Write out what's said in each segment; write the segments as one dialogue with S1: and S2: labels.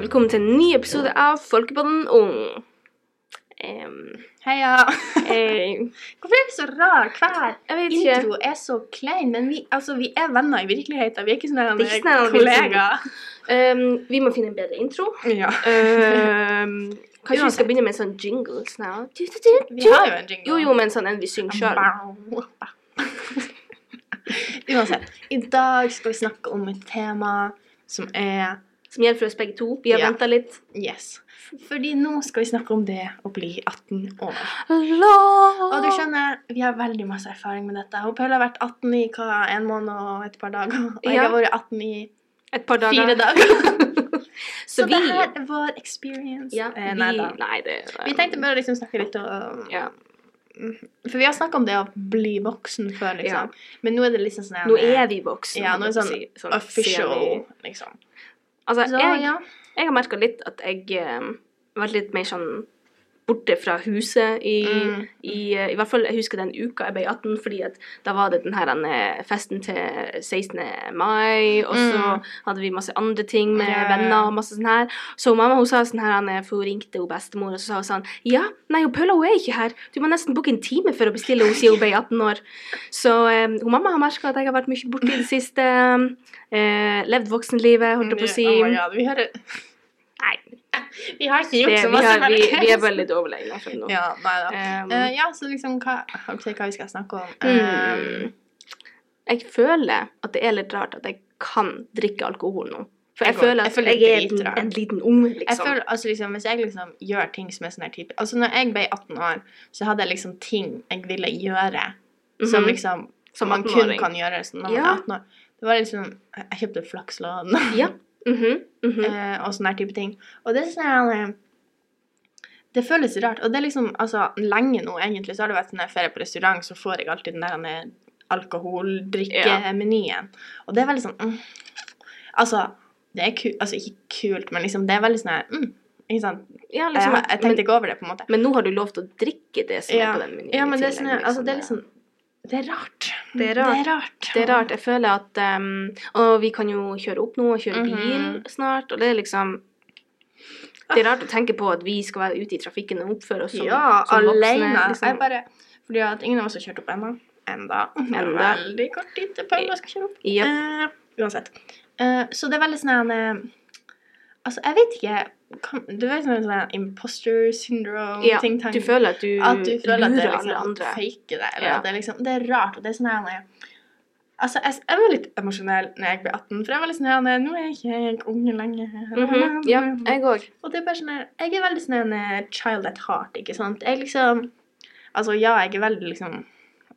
S1: velkommen til en ny episode av Folkepodden ung. Em,
S2: Heia!
S1: eh,
S2: Hvorfor er vi så rar? Hver
S1: jeg vet ikke.
S2: intro er så klein, men vi, altså, vi er venner i virkeligheten. Vi er ikke sånne
S1: Det er sånn- ikke sånn at vi-
S2: kollegaer.
S1: Em, vi må finne en bedre intro.
S2: Ja.
S1: Em, kanskje vi
S2: Uansett.
S1: skal begynne med en sånn jingle snart.
S2: Vi har jo en jingle.
S1: Jo, jo, men sånn en vi synger sjøl.
S2: Bow. Uansett, i dag skal vi snakke om et tema som er
S1: Som gjelder for oss begge to. Vi har
S2: Ja.
S1: ventet venta litt.
S2: Yes. Fordi nå skal vi snakke om det å bli 18 år. Og du
S1: Hallo!
S2: skjønner, vi har veldig masse erfaring med dette. Hun Paula har vært 18 i hva, en måned og et par dager. Og jeg
S1: Ja.
S2: har vært 18 i
S1: Et par dager.
S2: fire dager. Så,
S1: Så vi
S2: det her er vår experience.
S1: ja,
S2: Eh,
S1: vi,
S2: nei da.
S1: nei, det
S2: Vi tenkte bare liksom snakke litt om
S1: ja.
S2: For vi har snakka om det å bli voksen før, liksom. Men nå er det liksom sånn her-
S1: Nå er sånn vi voksne.
S2: Ja, nå er det sånn
S1: si-
S2: official,
S1: semi-
S2: liksom.
S1: Altså,
S2: Så
S1: jeg,
S2: ja.
S1: Jeg har merka litt at jeg um, har vært litt mer sånn borte fra huset i,
S2: Mm.
S1: i eh, I hvert fall jeg husker den uka jeg ble 18, fordi at da var det den her eh, festen til 16. mai, og så
S2: Mm.
S1: hadde vi masse andre ting med
S2: Ja, ja, ja.
S1: venner og masse sånn her. Så mamma hun sa sånn her, han, eh, for hun ringte hun bestemor og så sa hun sånn Ja, nei, hun Paula hun er ikke her. Du må nesten booke en time for å bestille henne siden hun ble 18 år. Så eh, hun mamma har merka at jeg har vært mye borte i det siste. Eh, levd voksenlivet, holdt jeg på å si.
S2: Oh my God, vi, har,
S1: Nei,
S2: vi har ikke
S1: det,
S2: gjort
S1: vi,
S2: så masse.
S1: har, vi,
S2: veldig.
S1: vi er bare litt overlegne akkurat nå.
S2: Ja, nei da.
S1: Um,
S2: Eh, ja, så liksom hva OK, hva vi skal snakke om?
S1: Mm.
S2: Eh,
S1: jeg føler at det er litt rart at jeg kan drikke alkohol nå. For jeg,
S2: Jeg går-
S1: føler
S2: jeg
S1: at
S2: føler
S1: jeg,
S2: det
S1: er
S2: er
S1: en,
S2: dritrart.
S1: en liten unge,
S2: Jeg
S1: liksom.
S2: føler, altså liksom, Hvis jeg liksom gjør ting som er sånn her type Altså når jeg ble 18 år, så hadde jeg liksom ting jeg ville gjøre som
S1: Mhm.
S2: liksom
S1: Som
S2: man kun
S1: 18-åring.
S2: kan gjøre sånn når man
S1: Ja.
S2: er 18 år. Det var liksom Jeg jeg kjøpte flakslodd
S1: Ja. mhm, mhm.
S2: eh, og sånne her type ting. Og det er sånn her eh, Det føles rart. Og det er liksom Altså, lenge nå, egentlig, så har det vært sånn her ferie på restaurant, så får jeg alltid den der eh, alkoholdrikkemenyen. Og det er veldig sånn mm, Altså, det er ku- Altså, ikke kult, men liksom, det er veldig sånn her mm, Ikke sant?
S1: ja,
S2: Jeg,
S1: liksom,
S2: har- jeg tenkte ikke over det, på en måte.
S1: men, men nå har du lov til å drikke det som er på den menyen.
S2: ja, men
S1: i
S2: det er
S1: tillegg,
S2: sånn her Altså, det er
S1: liksom.
S2: liksom Det er rart.
S1: Det er rart.
S2: Det er rart.
S1: Det er rart. Jeg føler at um, Og vi kan jo kjøre opp nå og kjøre bil
S2: Mhm.
S1: snart, og det er liksom Det er rart å tenke på at vi skal være ute i trafikken og oppføre oss som,
S2: ja,
S1: som voksne.
S2: alene.
S1: liksom.
S2: Jeg bare, fordi at ingen av oss har kjørt opp ennå. Enda. Det er
S1: Enda.
S2: Veldig kort tid til Paula skal kjøre opp.
S1: Ja.
S2: Eh, uansett. Eh, så det er veldig sånn eh, Altså, jeg vet ikke kan, Du vet sånn sånn imposter syndrome
S1: Ja,
S2: ting, tang,
S1: Du føler at du,
S2: At du føler at det
S1: lurer
S2: er
S1: alle
S2: liksom
S1: andre.
S2: fake det. Eller
S1: Ja.
S2: at det er liksom Det er rart. Og det er sånn her eh, Altså, jeg, jeg var litt emosjonell når jeg ble 18, for jeg var litt sånn her eh, Nå er jeg ikke jeg unge lenger.
S1: Mhm,
S2: Mm-hmm.
S1: Ja, jeg òg.
S2: Og det er bare sånn her, Jeg er veldig sånn en eh, child at heart, ikke sant? Jeg liksom Altså, ja, jeg er veldig liksom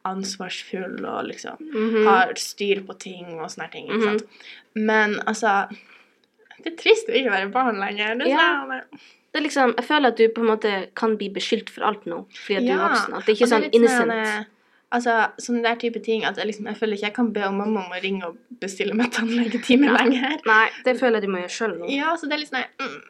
S2: ansvarsfull og liksom
S1: Mm.
S2: har styr på ting og sånne her ting, ikke
S1: Mhm.
S2: sant? Men altså Det er trist å ikke være barn lenger. Det er
S1: Ja.
S2: sånn her,
S1: Det er liksom, jeg føler at du på en måte kan bli beskyldt for alt nå, fordi at du er
S2: Ja,
S1: voksen. At det er ikke
S2: og det er
S1: sånn
S2: litt
S1: innocent.
S2: eh, Altså, sånne der type ting at jeg liksom, jeg føler ikke jeg kan be om mamma om å ringe og bestille meg tannlegetime
S1: Nei.
S2: lenger.
S1: Nei, det føler jeg du må gjøre sjøl nå.
S2: Ja, så det er litt sånn her, mm,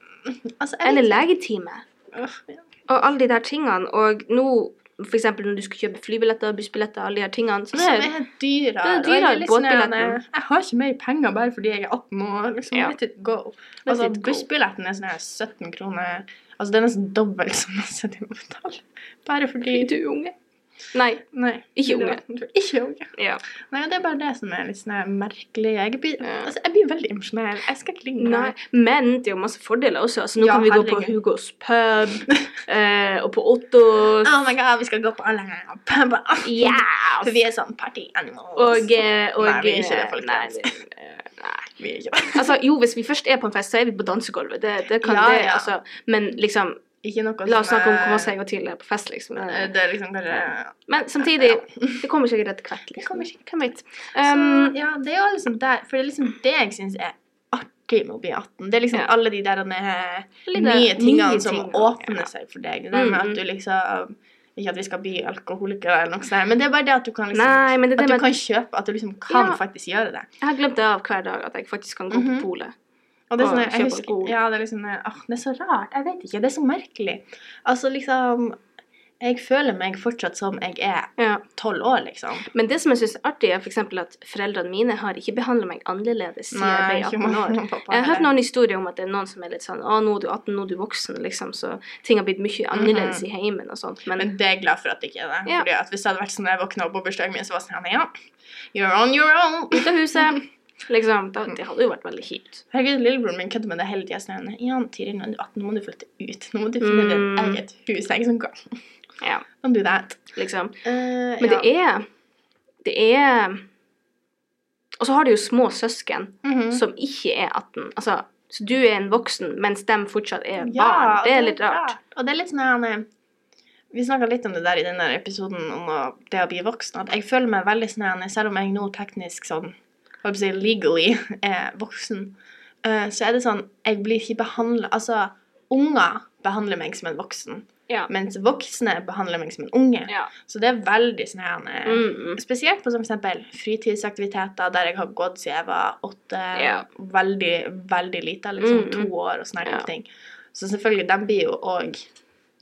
S2: Altså, jeg
S1: Eller
S2: vet-
S1: legetime.
S2: Åh, ja.
S1: Og alle de der tingene. Og nå, for eksempel når du skal kjøpe flybilletter, bussbilletter, alle de her tingene. Så
S2: Som
S1: det,
S2: er dyrere.
S1: det er
S2: og jeg
S1: dyrere,
S2: litt sånn her,
S1: båtbilletten.
S2: Jeg har ikke mer penger bare fordi jeg er 18 år. Liksom,
S1: Ja.
S2: Let it go.
S1: Let
S2: Altså,
S1: it go.
S2: bussbilletten er sånn her 17 kroner. Altså, det er nesten dobbelt så masse du må betale. Bare fordi
S1: du er unge. Nei.
S2: Nei.
S1: Ikke
S2: du-
S1: unge.
S2: Du er ikke unge.
S1: Ja.
S2: Nei, det er bare det som er litt sånn her merkelig. Jeg blir,
S1: Ja.
S2: altså, jeg blir veldig emosjonell. Jeg skal ikke ligge
S1: Nei. Men det er jo masse fordeler også. Altså, nå
S2: Ja,
S1: kan vi gå på
S2: herregud.
S1: Hugos pub eh, og på Ottos.
S2: Oh my god, vi skal gå på alle her.
S1: Yes!
S2: Ah, For vi er sånn party animals.
S1: Og, eh, og
S2: Nei, vi er ikke det, folkens.
S1: Nei, det- eh, nei.
S2: vi er ikke det.
S1: Altså, jo, hvis vi først er på en fest, så er vi på dansegulvet. Det, det kan
S2: Ja,
S1: det,
S2: ja.
S1: altså. Men liksom,
S2: Ikke noe
S1: la oss
S2: som
S1: snakke om
S2: er-
S1: hvor masse jeg og Tilde er på fest, liksom. Det-
S2: Det er liksom kanskje
S1: Men samtidig, det kommer sikkert etter hvert. Liksom.
S2: kommer
S1: Hvem vet.
S2: Så,
S1: Um,
S2: ja, det er jo liksom der For det er liksom det jeg syns er artig med å bli 18. Det er liksom
S1: Ja.
S2: alle de der eh,
S1: litt,
S2: nye
S1: eh,
S2: tingene
S1: nye
S2: som
S1: ting.
S2: åpner seg for deg. Det der med
S1: Mm,
S2: at du liksom Ikke at vi skal bli alkoholikere eller noe sånt, men det er bare det at du kan liksom
S1: Nei, men det er det
S2: At du
S1: med at
S2: kan kjøpe, at du liksom kan
S1: Ja.
S2: faktisk gjøre det.
S1: jeg har glemt det av hver dag, at jeg faktisk kan gå på
S2: Mhm.
S1: polet.
S2: Og det er
S1: Og
S2: sånn, jeg
S1: kjøpe
S2: husker,
S1: alkohol.
S2: ja, det er liksom eh, åh, det er så rart. Jeg vet ikke. Det er så merkelig. Altså liksom Jeg føler meg fortsatt som jeg er
S1: Ja.
S2: tolv år, liksom.
S1: Men det som jeg syns er artig, er f.eks. at foreldrene mine har ikke behandla meg annerledes siden jeg ble 18 år. Jeg har hørt noen historier om at det er noen som er litt sånn Å, nå er du 18, nå er du voksen, liksom, så ting har blitt mye annerledes i heimen og sånt. Men,
S2: Mhm. Men det er jeg glad for at det ikke er det.
S1: Ja.
S2: Fordi at Hvis det hadde vært sånn da jeg våkna opp på bursdagen min, så var det sånn Ja, you're on your own.
S1: ut av huset, liksom. Da, det hadde jo vært veldig kjipt.
S2: Herregud, lillebroren min kødder med det hele tida. Sånn, ja, Tiril, nå er du 18, nå må du flytte ut. Nå må du finne deg et
S1: Mm.
S2: eget hus. Jeg er sånn, girl,
S1: Ja,
S2: don't do that.
S1: liksom.
S2: Eh,
S1: Men
S2: ja.
S1: det er Det er Og så har du jo små søsken
S2: Mhm.
S1: som ikke er 18. Altså, så du er en voksen, mens de fortsatt er barn.
S2: Ja, og
S1: det er litt rart.
S2: Og det er litt sånn her, Anne, Vi snakka litt om det der i den der episoden om å- det å bli voksen. At jeg føler meg veldig sånn, her, Anne, selv om jeg nå teknisk sånn hva skal jeg si, legally er voksen, eh, så er det sånn Jeg blir ikke behandla Altså, unger behandler meg som en voksen,
S1: Ja.
S2: mens voksne behandler meg som en unge.
S1: ja.
S2: Så det er veldig sånn her, Anne,
S1: Mm, mm.
S2: Spesielt på som for eksempel fritidsaktiviteter der jeg har gått siden jeg var åtte,
S1: Ja.
S2: veldig, veldig lita, liksom
S1: Mm, mm.
S2: to år og sånne her
S1: Ja.
S2: type ting. Så selvfølgelig, de blir jo òg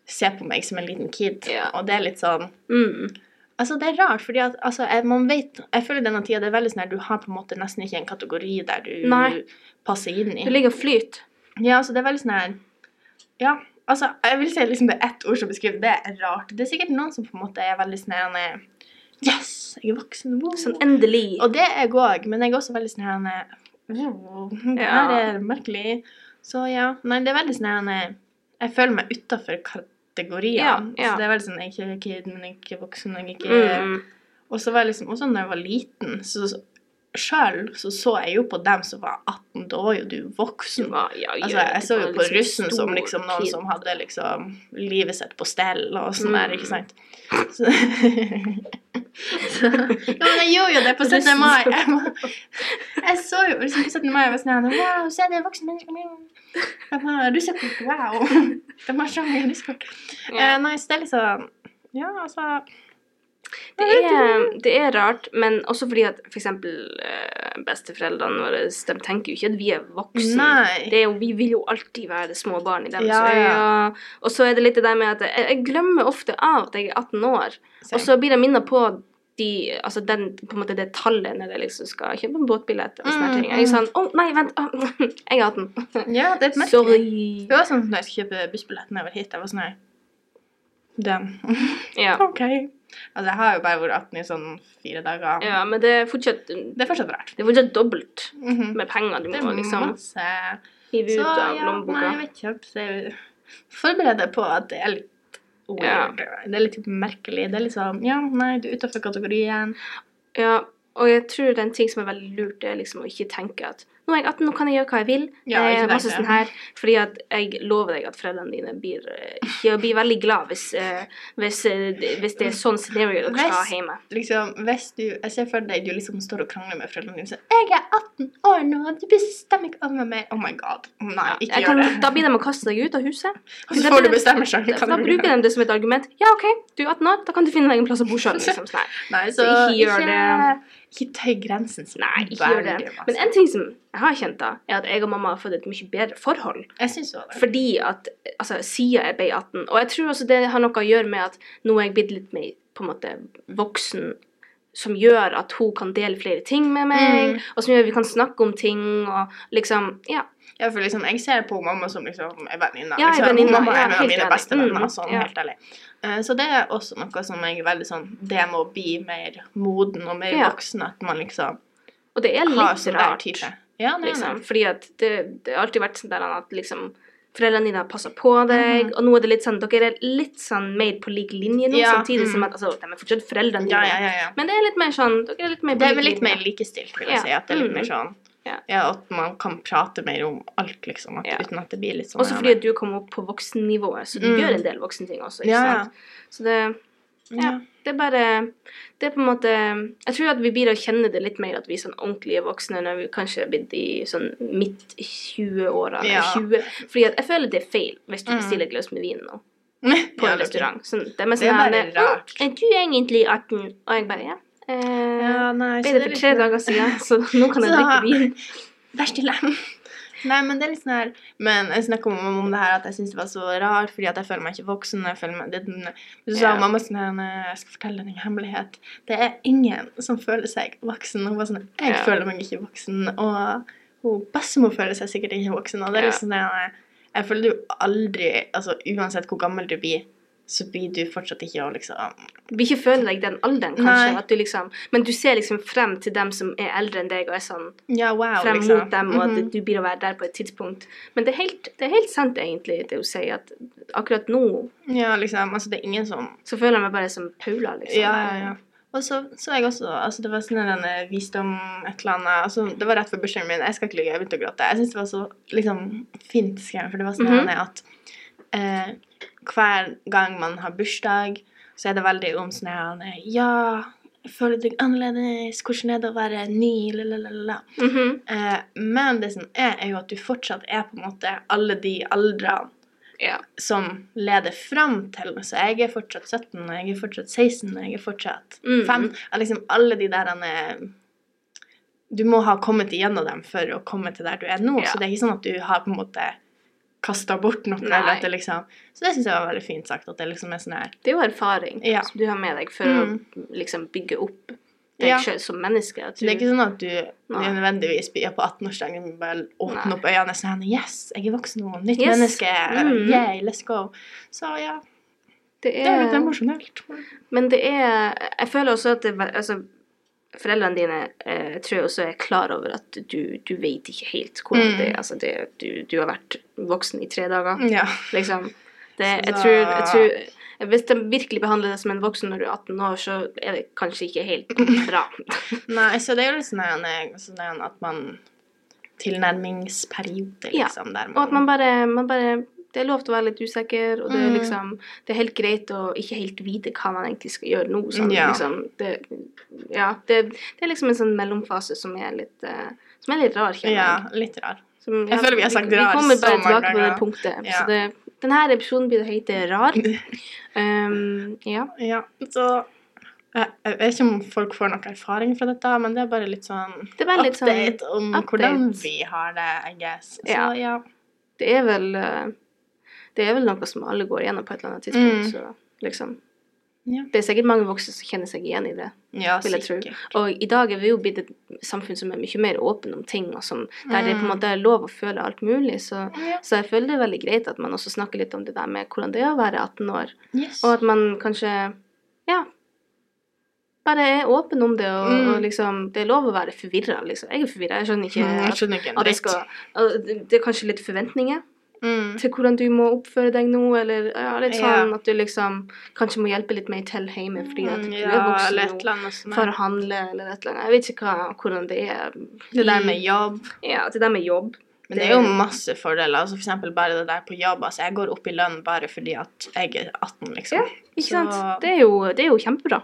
S2: Se på meg som en liten kid,
S1: Ja.
S2: og det er litt sånn
S1: Mm.
S2: Altså, det er rart, fordi at altså, jeg, man vet Jeg føler denne tida det er veldig sånn her du har på en måte nesten ikke en kategori der du
S1: Nei.
S2: passer inn i.
S1: Du ligger og flyter.
S2: Ja, altså, det er veldig sånn her Ja. Altså, jeg vil si liksom det er ett ord som beskriver det, er rart. Det er sikkert noen som på en måte er veldig sånn her han er, Yes! Jeg er voksen! Wow.
S1: Sånn endelig.
S2: Og det er jeg òg, men jeg er også veldig sånn her eh, wow, Det her
S1: Ja.
S2: er merkelig. Så ja. Nei, det er veldig sånn her eh, Jeg føler meg utafor kategorier.
S1: Ja, ja.
S2: Så det er veldig sånn Jeg er ikke kid, men jeg er ikke voksen. Jeg er ikke
S1: Mm.
S2: Og så var jeg liksom også når jeg var liten, så sjøl så, så jeg jo på dem som var 18. Da var jo du voksen.
S1: Hva- ja, gjør
S2: Altså,
S1: det,
S2: jeg
S1: det
S2: så
S1: var
S2: jo på
S1: liksom
S2: russen som
S1: stor
S2: liksom noen
S1: kid.
S2: som hadde liksom livet sitt på stell og sånn der,
S1: Mm.
S2: ikke sant? Så, så, ja, men jeg gjorde jo det på 17.
S1: Russen
S2: mai.
S1: som-
S2: Jeg, var- jeg så jo liksom på 17. mai, jeg var sånn her, wow, se det er voksne mennesker med. De har russekort, wow. De har så mye russekort.
S1: ja.
S2: Eh, nei, så det er liksom, ja, altså.
S1: det, er, det er rart, men også fordi at f.eks. Eh, besteforeldrene våre de tenker jo ikke at vi er voksne.
S2: Nei.
S1: Det er jo, vi vil jo alltid være små barn i deres
S2: Ja,
S1: øyne.
S2: ja.
S1: Og så er det litt det der med at jeg, jeg glemmer ofte av at jeg er 18 år, og så blir jeg minnet på de, altså den, på en måte det tallet når jeg liksom skal kjøpe en båtbillett. og sånne
S2: Mm,
S1: ting. Jeg er
S2: mm.
S1: sånn Å, nei, vent. ah, jeg er 18.
S2: Ja, det er et
S1: altså,
S2: merke.
S1: Sorry.
S2: Det var sånn når jeg skulle kjøpe bussbillett når jeg var hit, jeg var sånn her, den.
S1: Ja.
S2: OK. Altså, jeg har jo bare vært 18 i sånn fire dager.
S1: ja, men det er fortsatt Det
S2: Det er fortsatt rart.
S1: er fortsatt dobbelt
S2: Mhm.
S1: med penger du
S2: Det
S1: må
S2: er
S1: liksom
S2: masse
S1: hive ut
S2: Så ja,
S1: av
S2: nei, jeg
S1: lommeboka.
S2: vet ikke. helt. Så jeg Forbered deg på at det er litt weird. Det er litt merkelig. Det er liksom Ja, nei, du er utenfor kategorien.
S1: Ja, og jeg tror den ting som er veldig lurt, det er liksom å ikke tenke at nå er jeg 18, nå kan jeg gjøre hva jeg vil.
S2: Ja,
S1: det
S2: ikke
S1: er masse
S2: tenke.
S1: sånn her. Fordi at jeg lover deg at foreldrene dine blir, eh, ikke, blir veldig glad hvis, eh, hvis, eh, det- hvis det er sånn scenario dere skal ha
S2: Hvis-
S1: hjemme.
S2: Liksom, hvis du Jeg ser for deg du liksom står og krangler med foreldrene dine sånn 'Jeg er 18 år nå, og du bestemmer ikke over meg mer.' Oh my god. Nei,
S1: Jeg
S2: ikke gjør
S1: kan,
S2: det. Altså,
S1: Da blir de å kaste deg ut av huset.
S2: Og så
S1: da
S2: får
S1: blir
S2: du
S1: det-
S2: bestemme sjøl.
S1: Da bruker de det som et argument. Ja, OK, du er 18 år, da kan du finne deg en plass å bo sjøl. Liksom. Sånn her.
S2: Nei, så
S1: Så ikke gjør
S2: ikke, ikke tøy grensen så
S1: Nei, ikke gjør det.
S2: veldig masse.
S1: Men en ting som jeg har kjent, da, er at jeg og mamma har fått et mye bedre forhold.
S2: Jeg syns jo det.
S1: Fordi at altså, siden jeg ble 18 Og jeg tror også det har noe å gjøre med at nå er jeg blitt litt mer på en måte voksen, som gjør at hun kan dele flere ting med meg,
S2: Mm.
S1: og som gjør at vi kan snakke om ting og liksom Ja.
S2: Ja, for liksom, jeg ser på mamma som liksom en venninne.
S1: Ja, en
S2: liksom.
S1: venninne,
S2: Mamma er
S1: ja,
S2: en av
S1: helt
S2: mine
S1: enig.
S2: beste venner,
S1: Mm,
S2: sånn
S1: ja.
S2: helt ærlig. Eh, Så det er også noe som jeg er veldig sånn Det med å bli mer moden og mer
S1: Ja.
S2: voksen, at man liksom
S1: Og det er
S2: har
S1: litt
S2: sånn der
S1: rart.
S2: type. Mm. Ja, det er
S1: Liksom.
S2: det.
S1: Fordi at det, det har alltid vært sånn der at liksom Foreldrene dine har passa på deg,
S2: Mm.
S1: og nå er det litt sånn Dere er litt sånn mer på lik linje nå,
S2: Ja,
S1: samtidig
S2: mm.
S1: som at altså, de er fortsatt foreldrene dine.
S2: Ja, ja, ja, ja.
S1: Men det er litt mer sånn Dere er litt mer på
S2: Det
S1: lik
S2: er vel litt
S1: linje.
S2: mer likestilt, vil jeg
S1: Ja.
S2: si. At det er litt mer
S1: Mm.
S2: sånn
S1: Ja.
S2: Ja, at man kan prate mer om alt, liksom. At,
S1: Ja.
S2: Uten at det blir litt sånn
S1: Også fordi at du kom opp på voksennivået, så du
S2: Mm.
S1: gjør en del voksne ting også. ikke
S2: Ja, ja.
S1: sant? Så det,
S2: ja.
S1: det er bare Det er på en måte Jeg tror at vi blir å kjenne det litt mer at vi er sånn ordentlige voksne når vi kanskje er blitt i sånn midt 20-åra. eller
S2: Ja.
S1: 20. Fordi at jeg føler det er feil hvis du
S2: Mm.
S1: bestiller et glass med vin nå på
S2: Ja,
S1: en
S2: det er
S1: restaurant. Sånn, det er med
S2: Det er
S1: sånn her
S2: bare
S1: med,
S2: rart.
S1: «Å, Er du egentlig 18? Og jeg bare ja. Eh,
S2: Ja, nei, så
S1: ble det
S2: er
S1: for
S2: litt
S1: tre
S2: sånn-
S1: dager siden, så nå kan jeg
S2: Så-
S1: drikke vin.
S2: Vær stille. Nei, men det er litt sånn her Men jeg snakka om, om det her at jeg syns det var så rart, fordi at jeg føler meg ikke voksen. Jeg føler meg, det, er den- men så sa
S1: Ja.
S2: mamma sånn her «Nei, Jeg skal fortelle deg en hemmelighet. Det er ingen som føler seg voksen. Hun var sånn Jeg
S1: Ja.
S2: føler meg ikke voksen. Og hun bestemor føler seg sikkert ikke voksen. Og det er
S1: Ja.
S2: liksom det jeg, jeg føler du aldri Altså uansett hvor gammel du blir, så blir du fortsatt ikke å liksom
S1: Du vil ikke føle deg den alderen, kanskje.
S2: Nei.
S1: At du liksom, men du ser liksom frem til dem som er eldre enn deg, og er sånn
S2: Ja, wow,
S1: frem
S2: liksom.
S1: mot dem, og at
S2: Mhm.
S1: du blir å være der på et tidspunkt. Men det er helt, det er helt sant, egentlig, det hun sier, at akkurat nå
S2: Ja, liksom. Altså, det er ingen som
S1: så føler jeg meg bare som Paula, liksom.
S2: Ja, ja, ja. Og så så jeg også altså Det var sånn en eh, visdom et eller annet altså, Det var rett før bursdagen min. Jeg skal ikke lyve, jeg begynte å gråte. Jeg syns det var så liksom, fint skrevet, for det var sånn
S1: Mhm.
S2: at eh, hver gang man har bursdag, så er det veldig om sånn her eh, Ja, føler du deg annerledes? Hvordan er det å være ny? Lalalala.
S1: Mhm.
S2: Eh, men det som er, er jo at du fortsatt er på en måte alle de aldrene
S1: ja.
S2: som leder fram til Så jeg er fortsatt 17, og jeg er fortsatt 16, og jeg er fortsatt
S1: Mm.
S2: 5. Og liksom alle de der eh, Du må ha kommet igjennom dem for å komme til der du er nå.
S1: Ja.
S2: Så det er ikke sånn at du har på en måte kasta bort noe.
S1: Nei.
S2: Eller at det liksom, så det syns jeg var veldig fint sagt. At det liksom er sånn her
S1: Det er jo erfaring
S2: Ja.
S1: som du har med deg for
S2: Mm.
S1: å liksom bygge opp deg
S2: Ja.
S1: selv som menneske. At
S2: Så det er ikke
S1: du,
S2: sånn at du
S1: Mm. Nei.
S2: nødvendigvis blir på 18-årsdagen og bare åpner
S1: Nei.
S2: opp øynene og sier Yes, jeg er voksen nå. Nytt
S1: Yes.
S2: menneske.
S1: Mm.
S2: Yeah, let's go. Så ja,
S1: det
S2: sånn- det er litt
S1: er,
S2: emosjonelt.
S1: men det er Jeg føler også at det, er ve- altså, foreldrene dine eh, tror jeg også er klar over at du, du vet ikke helt hvordan
S2: Mm.
S1: det er. Altså, det, du, du har vært voksen i tre dager.
S2: Ja.
S1: Liksom. Det,
S2: Så
S1: jeg,
S2: da-
S1: tror, jeg tror Hvis de virkelig behandler deg som en voksen når du er 18 år, så er det kanskje ikke helt bra.
S2: Nei, så det er jo litt sånn her, nei, sånn her at man Tilnærmingsperiode,
S1: Ja,
S2: liksom. Der
S1: Og at man bare, man bare Det er lov til å være litt usikker, og det er
S2: Mm.
S1: liksom Det er helt greit å ikke helt vite hva man egentlig skal gjøre nå. Sånn,
S2: Ja.
S1: liksom, det, ja, det, det er liksom en sånn mellomfase som er litt eh, Som er litt rar, kjenner
S2: Ja,
S1: jeg.
S2: litt rar.
S1: Som,
S2: Jeg føler vi har sagt rar
S1: Vi kommer
S2: så
S1: bare
S2: mange
S1: tilbake på det
S2: ganger.
S1: punktet.
S2: Ja.
S1: Så det, denne episoden blir det hete Rar. Um, ja.
S2: Ja, så jeg, jeg vet ikke om folk får noe erfaring fra dette, men det er bare litt sånn
S1: Det er bare litt sånn
S2: update om
S1: update.
S2: hvordan vi har det, I guess. Så ja.
S1: Ja. det er vel eh, Det er vel noe som alle går igjennom på et eller annet tidspunkt.
S2: Mm.
S1: Så liksom
S2: Ja.
S1: Det er sikkert mange voksne som kjenner seg igjen i det.
S2: Ja,
S1: Vil jeg tro.
S2: sikkert.
S1: Og i dag er vi jo blitt et samfunn som er mye mer åpen om ting, og som, der det på en
S2: Mm.
S1: måte er lov å føle alt mulig. Så,
S2: Ja.
S1: så jeg føler det er veldig greit at man også snakker litt om det der med hvordan det er å være 18 år,
S2: Yes.
S1: og at man kanskje Ja. Bare er åpen om det, og,
S2: Mm.
S1: og liksom Det er lov å være forvirra, liksom. Jeg er forvirra. Jeg skjønner ikke
S2: Mm, jeg
S1: at,
S2: skjønner ikke en
S1: at jeg
S2: dritt.
S1: skal at Det det er kanskje litt forventninger
S2: Mm.
S1: til hvordan du må oppføre deg nå, eller ja, litt sånn
S2: Ja.
S1: at du liksom kanskje må hjelpe litt mer til hjemme fordi at
S2: Mm,
S1: du
S2: ja,
S1: er voksen
S2: eller et
S1: nå
S2: eller annet sånt.
S1: for å handle eller et eller annet. Jeg vet ikke hva, hvordan det er.
S2: Det der med jobb.
S1: Ja, det der med jobb.
S2: Men det er jo masse fordeler. Altså for eksempel bare det der på jobb. Altså jeg går opp i lønn bare fordi at jeg er 18, liksom.
S1: Ja. Ikke
S2: Så-
S1: sant? Det er jo, det er jo kjempebra.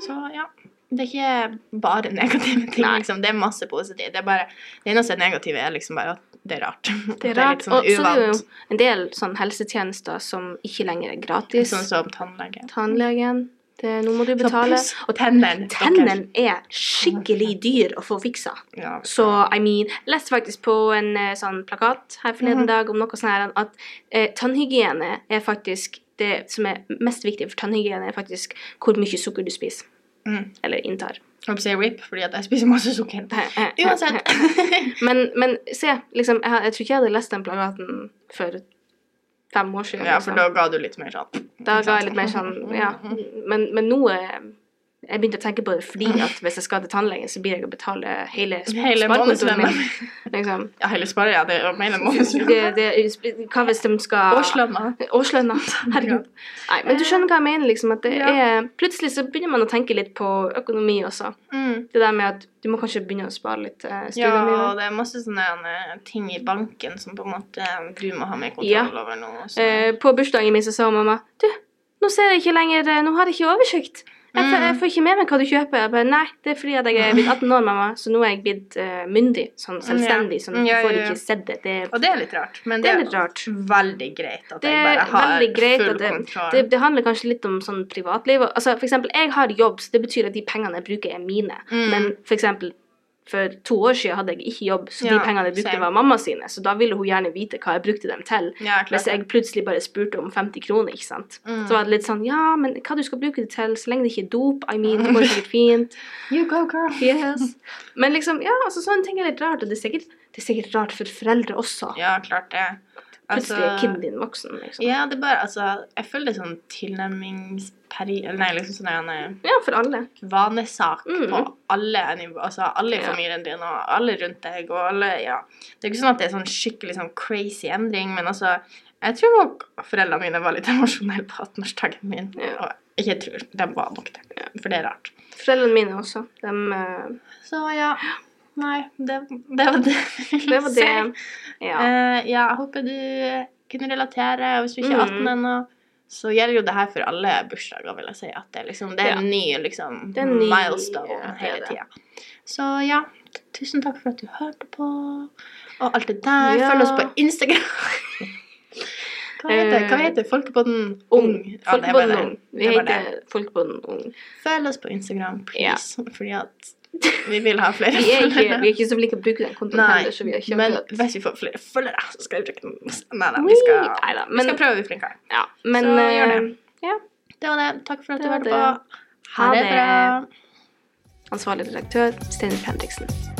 S2: Så ja. Det er ikke bare negative ting,
S1: Nei.
S2: liksom. Det er masse positivt. Det, er bare, det eneste negative er liksom bare at det er rart. At
S1: Det er rart.
S2: litt sånn
S1: og så er det jo
S2: uvant.
S1: en del sånn helsetjenester som ikke lenger er gratis.
S2: Sånn som tannlege.
S1: Tannlegen, det, nå må du
S2: Så
S1: betale.
S2: puss og tennene.
S1: Tennene er skikkelig dyr å få fiksa.
S2: Ja.
S1: Så I mean Jeg leste faktisk på en eh, sånn plakat her forleden
S2: Mhm.
S1: dag om noe sånn her at eh, tannhygiene er faktisk det som er mest viktig for tannhygiene, er faktisk hvor mye sukker du spiser.
S2: Mm.
S1: Eller inntar.
S2: Jeg holdt på å si rip, fordi at jeg spiser masse sukker. Uansett.
S1: men, men se, liksom, jeg, jeg tror ikke jeg hadde lest den plakaten for fem år siden.
S2: ja, for
S1: liksom.
S2: da ga du litt mer sånn
S1: Da ga jeg litt mer sånn Ja. Men, men nå eh, jeg begynte å tenke på det fordi at hvis jeg skal til tannlegen, så blir jeg å betale hele, sp- sparekontoen
S2: Hele
S1: min,
S2: månedslønnen.
S1: Liksom.
S2: Ja, heller sparer jeg det er jo mer enn
S1: det,
S2: månedslønn.
S1: det, hva hvis de skal
S2: Årslønna.
S1: Årslønna. Herregud. Nei, men du skjønner hva jeg mener. liksom, at det
S2: Ja.
S1: er, Plutselig så begynner man å tenke litt på økonomi også.
S2: Mm.
S1: Det der med at du må kanskje begynne å spare litt eh,
S2: Ja,
S1: studiene
S2: og
S1: dine.
S2: det er masse sånne eh, ting i banken som på en måte eh, du må ha mer kontroll
S1: Ja.
S2: over nå. sånn. Så.
S1: Eh, på bursdagen min så sa mamma Du, nå ser jeg ikke lenger eh, Nå har jeg ikke oversikt. Jeg, får-
S2: Mm.
S1: jeg får ikke med meg hva du kjøper. Jeg bare, Nei, det er fordi at jeg er blitt 18 år, mamma, så nå er jeg blitt eh, myndig. Sånn selvstendig. Sånn,
S2: Mm,
S1: du
S2: ja,
S1: får
S2: ja, ja.
S1: ikke sett det. Det er
S2: og det er litt rart, men
S1: Det
S2: det
S1: er
S2: er,
S1: litt rart.
S2: veldig greit at
S1: Det
S2: jeg
S1: er
S2: bare har
S1: veldig greit
S2: full
S1: at det-
S2: kontroll.
S1: Det, det handler kanskje litt om sånn privatliv. Altså, for eksempel, jeg har jobb, så det betyr at de pengene jeg bruker, er mine.
S2: Mm.
S1: Men for eksempel, For to år siden hadde jeg ikke jobb, så de
S2: Ja,
S1: pengene jeg brukte,
S2: same.
S1: var mamma sine. Så da ville hun gjerne vite hva jeg brukte dem til.
S2: Ja, klart.
S1: Hvis jeg plutselig bare spurte om 50 kroner, ikke sant.
S2: Mm.
S1: Så var det litt sånn Ja, men hva du skal bruke det til, så lenge det ikke er dop? I mean, det går sikkert fint.
S2: You go, girl.
S1: Yes. Men liksom, ja, altså sånne ting er litt rart. Og det er sikkert, det er sikkert rart for foreldre også.
S2: Ja, klart det. Altså,
S1: Plutselig er kiden din voksen, liksom.
S2: ja, det er bare, altså, jeg føler det er sånn tilnærmingsperi... Eller nei, liksom sånn en
S1: Ja, for alle.
S2: vanesak
S1: Mm.
S2: på alle nivå. Altså alle i
S1: Ja.
S2: familien din, og alle rundt deg, og alle, ja. Det er ikke sånn at det er sånn skikkelig sånn crazy endring, men altså, jeg tror nok foreldrene mine var litt emosjonelle på 18-årsdagen min.
S1: Ja.
S2: Og ikke jeg tror, de var nok det. For det er rart.
S1: Foreldrene mine også. dem, eh,
S2: Så ja. Nei, det, det var det.
S1: det var det. Ja.
S2: Eh, ja, jeg håper du kunne relatere. Og hvis du ikke er 18
S1: Mm.
S2: ennå, så gjelder jo det her for alle bursdager, vil jeg si. At det, er liksom, det er en ny, liksom,
S1: Det er en ny-
S2: milestone
S1: ja, det er
S2: hele
S1: det.
S2: tida. Så ja, t- tusen takk for at du hørte på, og alt det der.
S1: Ja.
S2: Følg oss på Instagram. Hva heter, det? Hva heter Folkepodden
S1: Eh, Ung.
S2: Ja, det var
S1: Folkebånden
S2: det.
S1: Ung. Vi
S2: Det var det.
S1: heter Folkebånden Ung.
S2: Følg oss på Instagram,
S1: Ja.
S2: please. Fordi at vi vil ha flere
S1: Vi er ikke,
S2: følgere.
S1: vi er ikke så flinke til å bruke den kontoen
S2: Nei,
S1: heller, så vi har ikke
S2: Men
S1: akkurat-
S2: hvis vi får flere følgere, så skal vi bruke den. Nei da, vi skal,
S1: Ui, neida,
S2: vi
S1: men-
S2: skal prøve å bli flinkere.
S1: Ja, men
S2: Så gjør
S1: eh,
S2: det. Det var det. Takk for at
S1: Det
S2: du
S1: var
S2: hørte
S1: det.
S2: på. Ha
S1: Ha
S2: det
S1: det.
S2: bra.
S1: ansvarlig redaktør Steinar Fredriksen.